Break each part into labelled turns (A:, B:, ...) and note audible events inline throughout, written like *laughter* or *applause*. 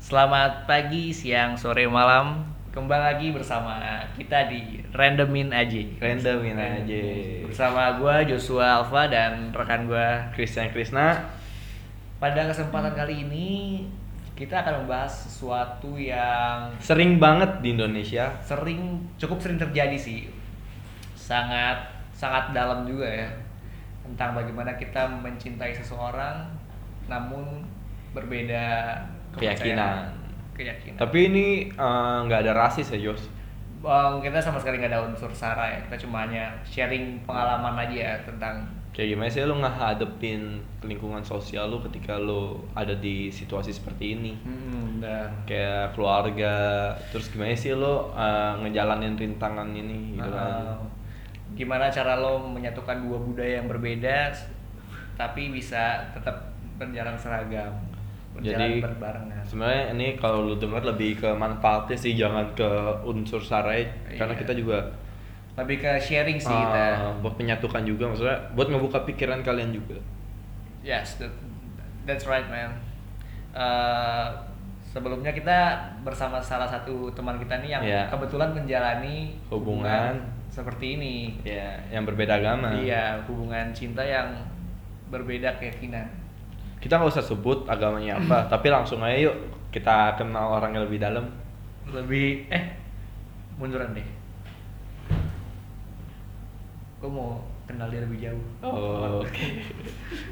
A: Selamat pagi, siang, sore, malam. Kembali lagi bersama kita di Randomin aja.
B: Randomin aja.
A: Bersama gua Joshua Alfa dan rekan gua.
B: Christian Krisna
A: Pada kesempatan kali ini kita akan membahas sesuatu yang
B: sering banget di Indonesia.
A: sering cukup sering terjadi sih. Sangat sangat dalam juga ya tentang bagaimana kita mencintai seseorang namun berbeda kepercayaan, keyakinan.
B: Tapi ini eh, nggak ada rasis ya Jos.
A: Bang, kita sama sekali nggak ada unsur sara ya. Kita cuma hanya sharing pengalaman aja ya tentang
B: Kayak gimana sih lu ngehadepin lingkungan sosial lu ketika lu ada di situasi seperti ini?
A: hmm, dan
B: Kayak keluarga, terus gimana sih lu eh, ngejalanin rintangan ini gitu
A: uh,
B: kan?
A: gimana cara lo menyatukan dua budaya yang berbeda s- tapi bisa tetap berjalan seragam, berjalan
B: Jadi
A: berbarengan.
B: sebenarnya ini kalau lu dengar lebih ke manfaatnya sih jangan ke unsur sarai karena
A: Iya.
B: kita juga
A: Lebih ke sharing sih kita.
B: eh, buat menyatukan juga maksudnya buat ngebuka pikiran kalian juga.
A: Yes, that, that's right man. Uh, sebelumnya kita bersama salah satu teman kita nih yang
B: Yeah.
A: kebetulan menjalani
B: Iya. Hubungan.
A: seperti ini.
B: Ya, yang berbeda agama.
A: Iya, hubungan cinta yang berbeda keyakinan.
B: Kita nggak usah sebut agamanya
C: Hmm.
B: apa, tapi langsung aja yuk kita kenal orangnya lebih dalam.
A: Lebih eh munduran deh. Gue mau kenal dia lebih jauh.
C: Oh,
B: Oh,
A: Oh,
B: Oke.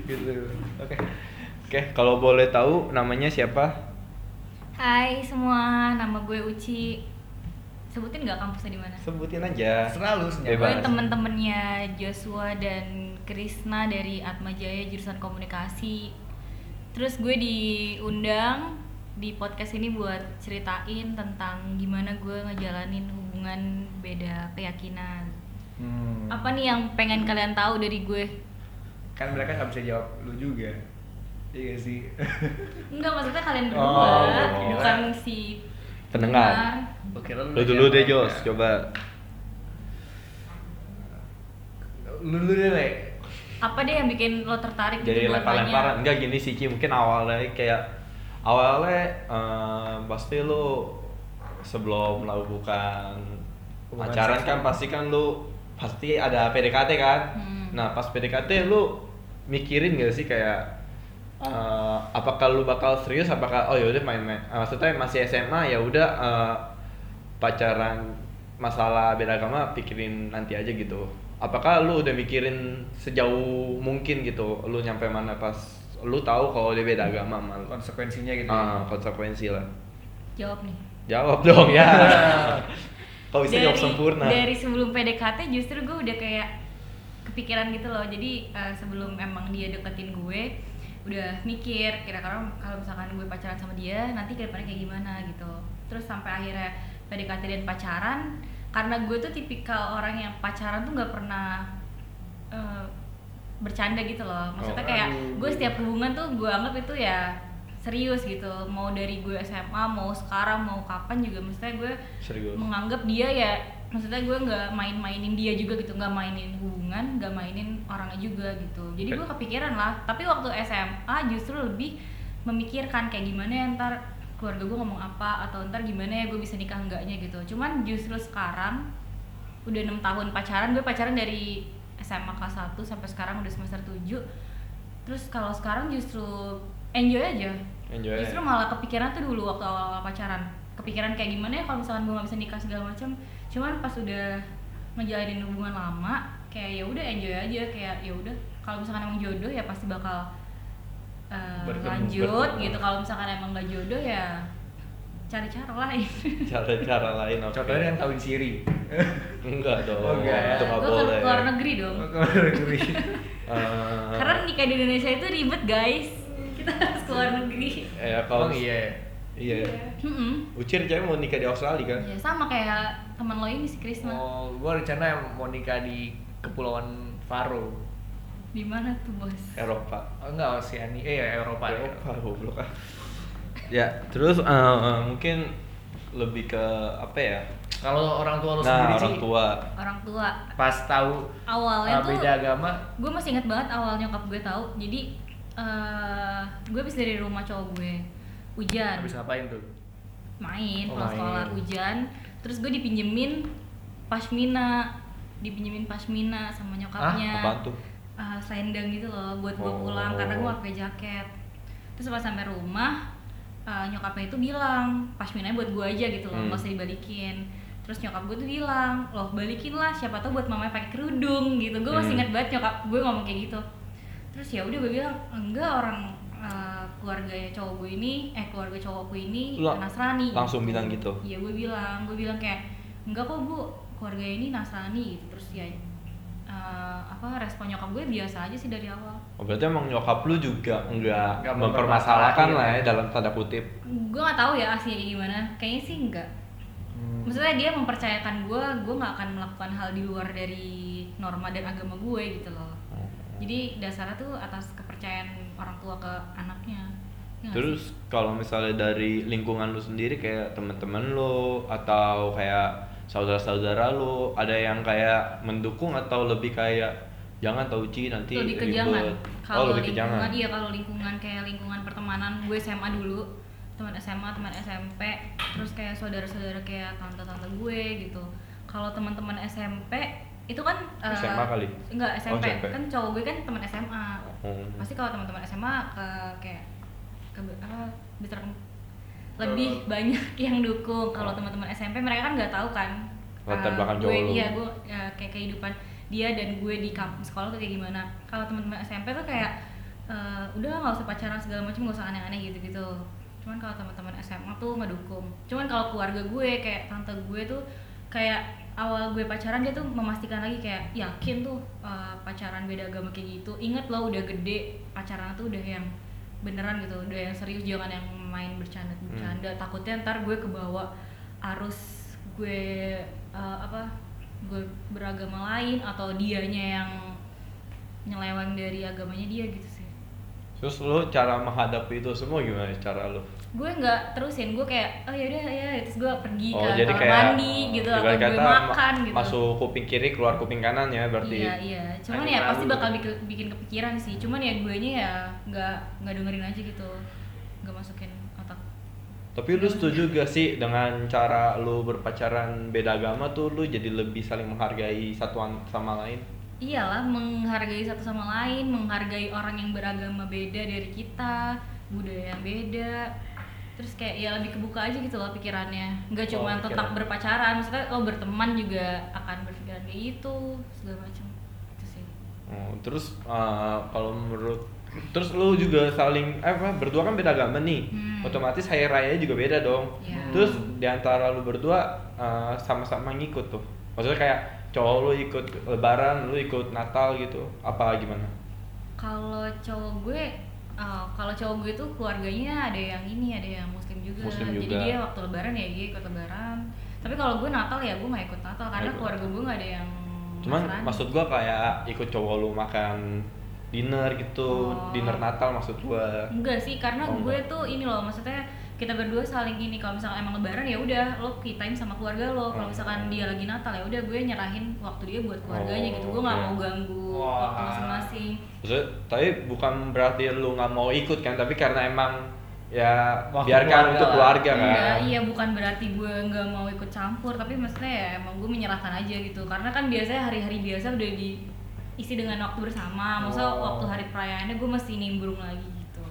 B: Ya.
A: gitu. Oke.
B: Oke, kalau boleh tahu namanya siapa?
C: Hai semua, nama gue Uci. Sebutin nggak kampusnya di mana?
B: Sebutin aja.
A: Selalu senyawa.
C: Gue
B: Bebas.
C: temen-temennya Joshua dan Krisna dari Atma Jaya jurusan komunikasi. Terus gue diundang di podcast ini buat ceritain tentang gimana gue ngejalanin hubungan beda keyakinan.
A: Hmm.
C: Apa nih yang pengen kalian tahu dari gue?
A: Kan mereka nggak bisa jawab lu juga. Iya nggak sih.
C: Enggak maksudnya kalian
A: Oh,
C: berdua,
B: oke.
C: bukan si
B: Pendengar.
A: Oke, lu,
B: Lu dulu deh
A: jawab.
B: Jos, coba.
A: Lu dulu deh, Le.
C: Apa deh yang bikin lo tertarik
B: Jadi
C: gitu buat nanya?
B: lempar-lemparan. Enggak gini sih, Ci. mungkin awalnya kayak awalnya eh, pasti lu sebelum melakukan
A: Hubungan
B: pacaran
A: seksual.
B: kan pasti kan lu pasti ada PDKT kan.
C: Hmm.
B: Nah pas PDKT lu mikirin gak sih kayak eh, apakah lu bakal serius apakah oh yaudah main-main Eh, maksudnya masih SMA ya udah eh, pacaran masalah beda agama pikirin nanti aja gitu apakah lu udah mikirin sejauh mungkin gitu lu nyampe mana pas lu tahu kalau dia beda agama sama lu
A: Konsekuensinya gitu.
B: Ah, konsekuensi lah
C: Jawab nih.
B: jawab *laughs* dong ya kau bisa jawab sempurna
C: dari sebelum PDKT justru gue udah kayak kepikiran gitu loh jadi eh, sebelum emang dia deketin gue udah mikir kira-kira kalau misalkan gue pacaran sama dia nanti kedepannya kayak gimana gitu terus sampai akhirnya PDKT dan pacaran karena gue tuh tipikal orang yang pacaran tuh nggak pernah eh, bercanda gitu loh maksudnya
B: Oh,
C: kayak
A: aduh.
C: gue setiap hubungan tuh gue anggap itu ya serius gitu mau dari gue SMA mau sekarang mau kapan juga maksudnya gue
B: serius
C: menganggap dia ya maksudnya gue nggak main-mainin dia juga gitu nggak mainin hubungan nggak mainin orangnya juga gitu jadi gue kepikiran lah tapi waktu SMA justru lebih memikirkan kayak gimana ya ntar keluarga gue ngomong apa atau ntar gimana ya gue bisa nikah enggaknya gitu cuman justru sekarang udah enam tahun pacaran gue pacaran dari SMA kelas 1 sampai sekarang udah semester 7 terus kalau sekarang justru enjoy aja
B: enjoy
C: Justru malah kepikiran tuh dulu waktu awal-awal pacaran. Kepikiran kayak gimana ya kalau misalkan gue gak bisa nikah segala macam. Cuman pas udah ngejalanin hubungan lama, kayak ya udah enjoy aja kayak ya udah kalau misalkan emang jodoh ya pasti bakal eh,
B: Bertemu,
C: lanjut
B: bertemu.
C: gitu. Kalau misalkan emang gak jodoh ya cari cara lain.
B: cara-cara lain oke.
A: Contohnya yang tahun Siri.
B: Enggak dong,
A: Oh, enggak ya.
B: *laughs* itu nggak
C: gue
B: boleh.
C: keluar negeri dong.
B: Eh,
C: Karena nikah di Indonesia itu ribet guys. Kita harus keluar
B: *laughs*
C: negeri.
B: eh, kalau
A: Emang iya ya?
B: iya.
C: Mm-mm.
B: Ucir cewek mau nikah di Australia kan?
C: Ya sama kayak teman lo ini si Krisna.
A: Oh, gua rencana mau nikah di Kepulauan Faro.
C: Di mana tuh bos?
B: Eropa.
A: Oh, enggak Oseania, eh ya, Eropa. ya.
B: Eropa goblok ah. ya, terus eh, eh, mungkin lebih ke apa ya?
A: Kalau orang tua lu sendiri
B: Nah, orang
A: sih
B: tua.
C: orang tua
A: pas tahu
C: awalnya
A: uh, beda
C: tuh
A: agama,
C: gue masih inget banget awal nyokap gue tahu jadi eh, gue bisa dari rumah cowok gue hujan
A: habis ngapain tuh
C: main
A: Oh,
C: pulang
A: main.
C: sekolah hujan terus gue dipinjemin pashmina dipinjemin pashmina
A: Ah,
C: sama nyokapnya
B: apaan tuh?
C: Ah, selendang gitu loh buat gue pulang
B: Oh.
C: karena gue gak pakai jaket terus pas sampai rumah ah, nyokapnya itu bilang pashminanya buat gue aja gitu
B: Hmm.
C: loh nggak usah dibalikin terus nyokap gue tuh bilang loh balikin lah siapa tau buat mamanya pakai kerudung gitu gue masih
B: Hmm.
C: ingat banget nyokap gue ngomong kayak gitu terus ya udah gue bilang enggak orang eh, keluarganya cowok gue ini eh keluarga cowokku ini
B: Lah,
C: nasrani
B: langsung bilang gitu?
C: iya gue bilang gue bilang kayak enggak kok bu keluarga ini nasrani gitu terus ya eh, apa respon nyokap gue biasa aja sih dari awal
B: Oh, berarti emang nyokap lu juga nggak
A: Nggak
B: mempermasalahkan
A: mempermasalahin
B: lah
A: ya.
B: ya dalam tanda kutip.
C: gue nggak tahu ya aslinya kayak gimana kayaknya sih enggak
B: Hmm.
C: maksudnya dia mempercayakan gue gue nggak akan melakukan hal di luar dari norma dan agama gue gitu loh jadi dasarnya tuh atas kepercayaan orang tua ke anaknya Ya nggak sih?
B: Terus kalau misalnya dari lingkungan lu sendiri kayak temen-temen lu atau kayak saudara-saudara lu ada yang kayak mendukung atau lebih kayak jangan tau Ci nanti
C: lebih ke
B: ribet."
C: jangan
B: Oh,
C: kalau
B: lebih ke
C: lingkungan
B: jangan.
C: iya kalau lingkungan kayak lingkungan pertemanan gue SMA dulu teman SMA teman SMP terus kayak saudara-saudara kayak tante-tante gue gitu kalau teman-teman SMP itu kan eh,
B: SMA kali? Oh,
C: enggak SMP.
B: SMP.
C: kan cowok gue kan teman SMA
B: Hmm.
C: pasti kalau teman-teman SMA ke kayak ke apa bisa lebih banyak *laughs* yang dukung
B: Eh.
C: kalau
B: Oh.
C: teman-teman SMP mereka kan nggak tahu kan
B: Latar
C: eh,
B: belakang
C: gue
B: cowok lu.
C: iya gue eh, kayak kehidupan dia dan gue di kampus sekolah tuh kayak gimana kalau teman-teman SMP tuh kayak eh, udah lah, nggak usah pacaran segala macam nggak usah aneh-aneh gitu-gitu cuman kalau teman-teman SMA tuh ngedukung cuman kalau keluarga gue kayak tante gue tuh kayak awal gue pacaran dia tuh memastikan lagi kayak yakin tuh eh, pacaran beda agama kayak gitu inget lo udah gede pacaran tuh udah yang beneran gitu udah yang serius jangan yang main bercanda bercanda takutnya ntar gue kebawa arus gue eh, apa gue beragama lain atau dianya yang nyeleweng dari agamanya dia gitu sih
B: Terus lu cara menghadapi itu semua gimana cara lu?
C: gue nggak terusin gue kayak oh yaudah ya terus gue pergi
B: Oh,
C: ke
B: jadi
C: kamar
B: kayak
C: mandi gitu atau
B: ibarat
C: gue
B: ma-
C: makan gitu
B: Masuk kuping kiri, keluar kuping kanan ya berarti.
C: iya iya cuman
A: Akhirnya
C: ya pasti
A: lalu.
C: bakal bikin, bikin kepikiran sih cuman ya gue nya ya nggak nggak dengerin aja gitu nggak masukin otak
B: Tapi lu setuju gak sih dengan cara lu berpacaran beda agama tuh lu jadi lebih saling menghargai satuan sama lain?
C: iyalah menghargai satu sama lain menghargai orang yang beragama beda dari kita budaya yang beda terus kayak ya lebih kebuka aja gitu loh pikirannya nggak
B: Oh,
C: cuma tetap
B: pikiran.
C: berpacaran maksudnya lo berteman juga akan berpikiran kayak gitu segala macam itu sih
B: Oh, terus eh, kalau menurut terus lu juga saling eh apa, berdua kan beda agama nih.
C: Hmm.
B: Otomatis hari raya juga beda dong.
C: Iya.
B: Terus diantara lu berdua eh, sama-sama ngikut tuh. Maksudnya kayak cowok lu ikut lebaran, lu ikut Natal gitu. Apa gimana?
C: kalau cowok gue eh, kalau cowok gue tuh keluarganya ada yang ini ada yang muslim juga.
B: Muslim
C: jadi
B: juga.
C: dia waktu lebaran ya dia ikut lebaran tapi kalau gue natal ya gue nggak ikut natal karena
B: Nggak ikut
C: keluarga gue nggak ada yang
B: Cuman
C: Nasrani.
B: maksud gua kayak ikut cowok lu makan dinner gitu,
C: Oh. Hmm.
B: dinner Natal maksud gua.
C: enggak sih karena
B: Oh,
C: gue
B: enggak.
C: tuh ini loh maksudnya kita berdua saling ini kalau misalkan emang lebaran ya udah lo key time sama keluarga lo
B: Oh.
C: kalau misalkan dia lagi natal ya udah gue nyerahin waktu dia buat keluarganya
B: Oh,
C: gitu gue nggak
B: oke.
C: mau ganggu
A: Wah.
C: waktu masing-masing
B: Maksudnya, tapi bukan berarti lu nggak mau ikut kan, tapi karena emang ya
A: Waktu
B: biarkan
A: keluarga
B: untuk
A: lah.
B: keluarga kan.
C: Enggak, iya bukan berarti gue nggak mau ikut campur, tapi maksudnya ya emang gue menyerahkan aja gitu. Karena kan biasanya hari-hari biasa udah diisi dengan waktu bersama. Masa
A: Oh.
C: waktu hari perayaannya gue masih nimbrung lagi gitu.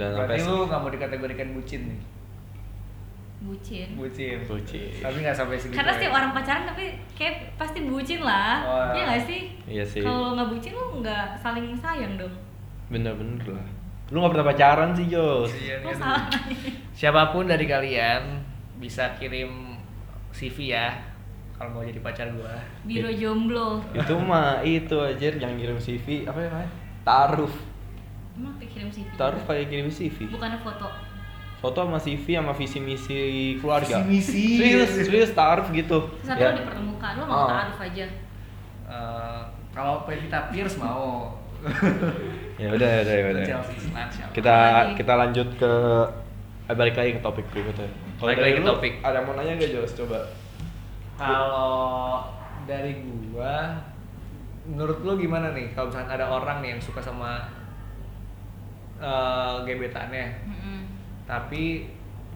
B: Dan sampai
A: berarti lu nggak mau dikategorikan bucin nih
C: Bucin.
A: bucin
B: Bucin.
A: tapi nggak sampai segitu ya.
C: Karena setiap orang pacaran tapi kayak pasti bucin lah.
A: Oh,
C: Iya
A: iya.
C: nggak sih?
B: Iya sih.
C: Kalau lo nggak bucin lo nggak saling sayang dong.
B: bener-bener lah. Lu nggak pernah pacaran sih Jos.
A: Iya,
C: Lo
A: kan.
C: salah.
A: siapapun dari kalian bisa kirim CV ya kalau mau jadi pacar gua
C: *laughs* Biro
B: Iya.
C: jomblo.
B: itu mah itu aja yang ngirim CV apa ya, namanya? Taruf.
C: Emang kirim CV.
B: Taruf kayak kirim CV.
C: Bukan foto.
B: Foto sama CV sama visi misi keluarga.
A: Visi-misi.
B: Serius, serius taruf gitu.
C: Satu
B: Ya.
C: lo di permukaan lo mau
B: Oh.
C: taruh aja.
A: Eh, kalau Pevita Pierce mau
B: Ya udah, ya udah, ya udah.
A: Chelsea Slancha.
B: Kita
C: Lagi.
B: kita lanjut ke eh, balik lagi ke topik berikutnya.
A: Balik
B: dari
A: lagi ke
B: lu,
A: topik.
B: Ada yang mau nanya nggak Jos? Coba.
A: Kalau dari gua, menurut lu gimana nih? Kalau misalkan ada orang nih yang suka sama eh gebetannya,
C: Mm-mm.
A: tapi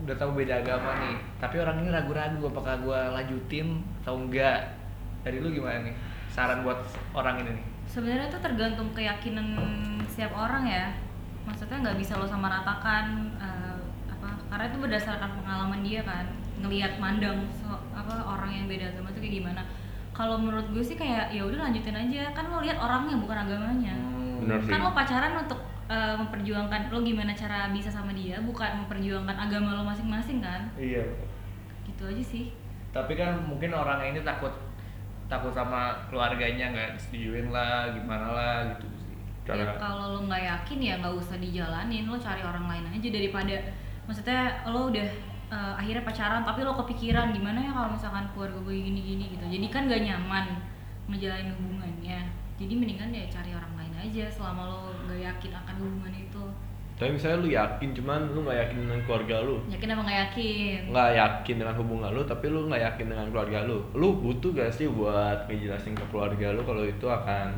A: udah tahu beda agama nih tapi orang ini ragu-ragu apakah gua lanjutin atau enggak dari lu gimana nih saran buat orang ini nih
C: sebenarnya itu tergantung keyakinan setiap orang ya maksudnya nggak bisa lo samaratakan eh, apa karena itu berdasarkan pengalaman dia kan ngelihat mandang so- apa orang yang beda agama itu kayak gimana kalau menurut gue sih kayak ya udah lanjutin aja kan lo lihat orangnya bukan agamanya
B: Benar
A: Hmm.
B: sih.
C: kan lo pacaran untuk eh, memperjuangkan lo gimana cara bisa sama dia bukan memperjuangkan agama lo masing-masing kan
A: iya
C: gitu aja sih
A: tapi kan mungkin orang ini takut takut sama keluarganya nggak disetujuin lah gimana lah gitu sih
C: Ya,
B: Karena
C: kalau lo nggak yakin ya nggak usah dijalanin lo cari orang lain aja daripada maksudnya lo udah eh, akhirnya pacaran tapi lo kepikiran gimana ya kalau misalkan keluarga gue gini gini gitu jadi kan gak nyaman ngejalanin hubungannya jadi mendingan ya cari orang lain aja selama lo nggak yakin akan hubungan itu
B: tapi misalnya lu yakin cuman lu nggak yakin dengan keluarga lu
C: yakin apa nggak yakin
B: nggak yakin dengan hubungan lu tapi lu nggak yakin dengan keluarga lu lu butuh gak sih buat ngejelasin ke keluarga lu kalau itu akan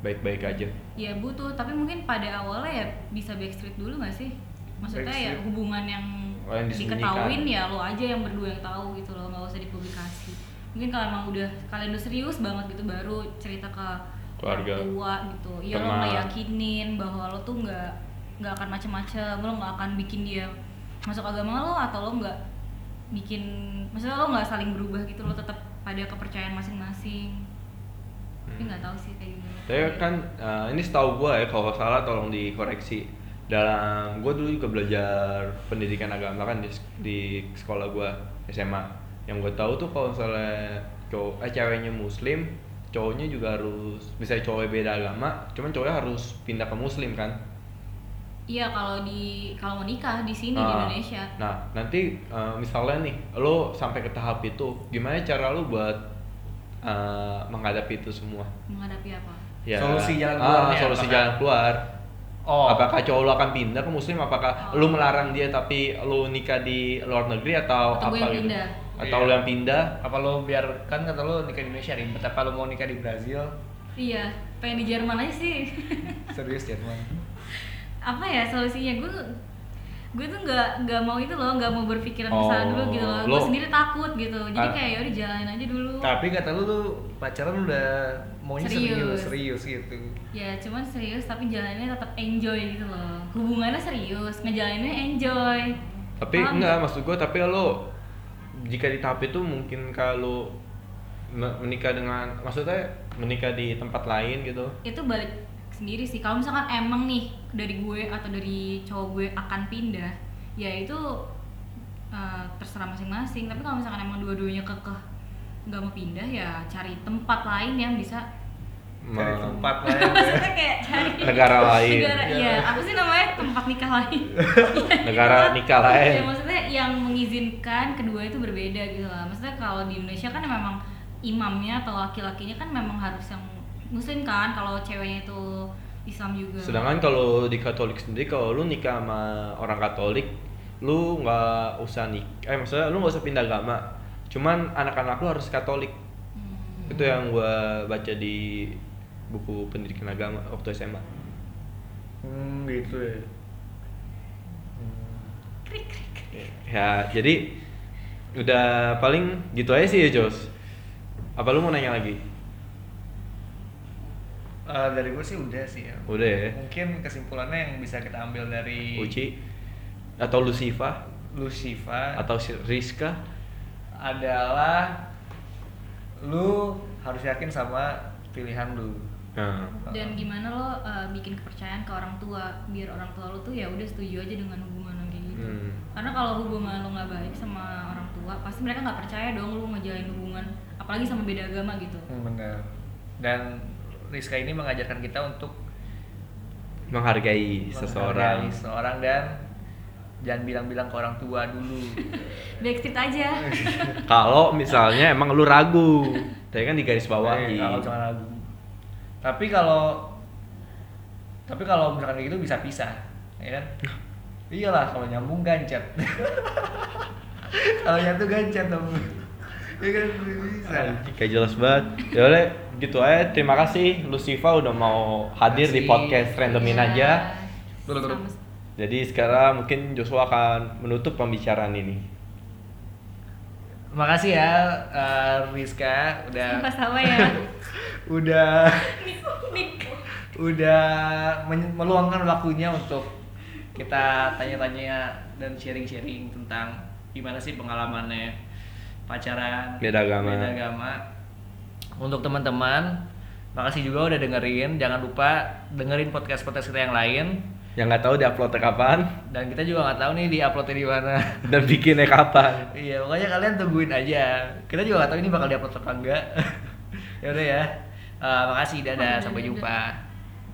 B: baik-baik aja
C: ya butuh tapi mungkin pada awalnya ya bisa backstreet dulu nggak sih maksudnya ya
A: Backstreet.
C: hubungan yang,
B: Oh, yang disembunyikan.
C: diketahuin ya lo aja yang berdua yang tahu gitu loh nggak usah dipublikasi mungkin kalau emang udah kalian udah serius banget gitu baru cerita ke
B: Keluarga.
C: orang tua gitu ya lo
B: Teman.
C: nggak yakinin bahwa lo tuh nggak nggak akan macem-macem lo nggak akan bikin dia masuk agama lo atau lo nggak bikin maksudnya lo nggak saling berubah gitu lo tetap pada kepercayaan masing-masing tapi
B: Hmm.
C: nggak tahu sih kayak gimana
B: Tapi kan eh, ini setahu gue ya kalau salah tolong dikoreksi. Dalam gue dulu juga belajar pendidikan agama kan di, di sekolah gue SMA. Yang gue tahu tuh kalau misalnya cowok eh ceweknya muslim, cowoknya juga harus misalnya cowoknya beda agama, cuman cowoknya harus pindah ke muslim kan.
C: Iya kalau di kalau mau nikah di sini di
B: Ah.
C: Indonesia.
B: Nah, nanti eh, misalnya nih, lo sampai ke tahap itu, gimana cara lo buat eh, menghadapi itu semua?
C: Menghadapi apa?
A: Solusi jalan
B: ah,
A: keluarnya
B: solusi
A: apakah-
B: jalan keluar.
A: Oh.
B: Apakah cowok lo akan pindah ke muslim? Apakah
C: Oh.
B: lo melarang dia tapi lo nikah di luar negeri atau, apa
C: Atau gue yang
B: gitu?
C: pindah.
B: Atau
A: Iya.
B: lo yang pindah?
A: apa lo biar kan kata lo nikah di Indonesia ribet apa lo mau nikah di Brazil
C: Iya, pengen di Jerman aja sih. *laughs*
A: serius ya teman
C: apa ya solusinya gue gue tuh nggak nggak mau itu loh nggak mau berpikiran ke sana
B: Oh,
C: dulu gitu loh gue
B: lo-
C: sendiri takut gitu jadi
B: Ah.
C: kayak yaudah jalanin aja dulu
A: tapi kata lo lo pacaran udah maunya serius serius,
C: Serius.
A: gitu
C: ya cuman serius tapi jalannya tetap enjoy gitu loh hubungannya serius ngejalaninnya enjoy
B: Tapi
C: Paham
B: enggak,
C: nggak?
B: maksud gue tapi lo jika di tahap itu mungkin kalau me- menikah dengan maksudnya menikah di tempat lain gitu.
C: itu balik sendiri sih kalau misalkan emang nih dari gue atau dari cowok gue akan pindah ya itu eh, terserah masing-masing tapi kalau misalkan emang dua-duanya kekeh nggak mau pindah ya cari tempat lain yang bisa
A: cari
B: me-
A: tempat ya, lain
B: *laughs*
C: maksudnya kayak cari
B: Negara lain.
C: negara ya apa sih namanya tempat nikah lain
B: *laughs* Negara nikah lain.
C: ya maksudnya yang mengizinkan kedua itu berbeda gitu lah maksudnya kalau di Indonesia kan memang imamnya atau laki-lakinya kan memang harus yang muslim kan kalau ceweknya itu Islam juga
B: Sedangkan kalau di Katolik sendiri kalau lu nikah sama orang Katolik, lu nggak usah nik eh maksudnya lu nggak usah pindah agama. Cuman anak-anak lu harus Katolik.
C: Hmm.
B: Itu yang gua baca di buku pendidikan agama waktu SMA.
A: hmm gitu ya
B: Ya, jadi udah paling gitu aja sih ya, Jos. Apa lu mau nanya lagi?
A: Eh, dari gue sih udah sih ya
B: Udah ya.
A: mungkin kesimpulannya yang bisa kita ambil dari
B: Uci atau Lusifa
A: lu Shiva
B: atau si- Rizka
A: adalah lu harus yakin sama pilihan lu
B: nah,
C: dan gimana lo uh, bikin kepercayaan ke orang tua biar orang tua lo tuh ya udah setuju aja dengan hubungan lo kayak gitu
B: Hmm.
C: karena kalau hubungan lo nggak baik sama orang tua pasti mereka nggak percaya dong lo ngejalin hubungan apalagi sama beda agama gitu
A: Hmm, benar dan Rizka ini mengajarkan kita untuk
B: menghargai seseorang
A: menghargai Iya, seseorang dan jangan bilang-bilang ke orang tua dulu
C: backstreet aja
B: Kalau misalnya emang lu ragu, tadi kan di garis bawahi.
A: Eh, kalau jangan ragu tapi kalau tapi kalau misalkan kayak gitu bisa pisah ya kan iyalah kalau nyambung gancet *laughs* kalau nyatu gancet dong ya kan bisa
B: Anjing, Kayak jelas banget. Ya udah, gitu aja. Terima kasih Lucifa udah mau hadir
A: Kasih.
B: di podcast randomin
C: Ya.
B: aja.
A: Dulu, dulu.
C: Sama-
B: Jadi sekarang mungkin Joshua akan menutup pembicaraan ini.
A: Makasih ya eh, Rizka udah
C: Sumpah sama ya.
A: udah
C: Nik- Nik.
A: udah men- meluangkan waktunya untuk kita tanya-tanya dan sharing-sharing tentang gimana sih pengalamannya pacaran
B: Beda agama.
A: beda agama. Untuk teman-teman, makasih juga udah dengerin. Jangan lupa dengerin podcast-podcast kita yang lain
B: Yang nggak tahu diuploadnya kapan *laughs*
A: dan kita juga nggak tahu nih di uploadnya di mana. *laughs*
B: dan bikinnya kapan.
A: Iya, makanya kalian tungguin aja. Kita *laughs* juga nggak tahu ini bakal diupload apa enggak. ya udah ya. Eh, makasih dadah, sampai jumpa.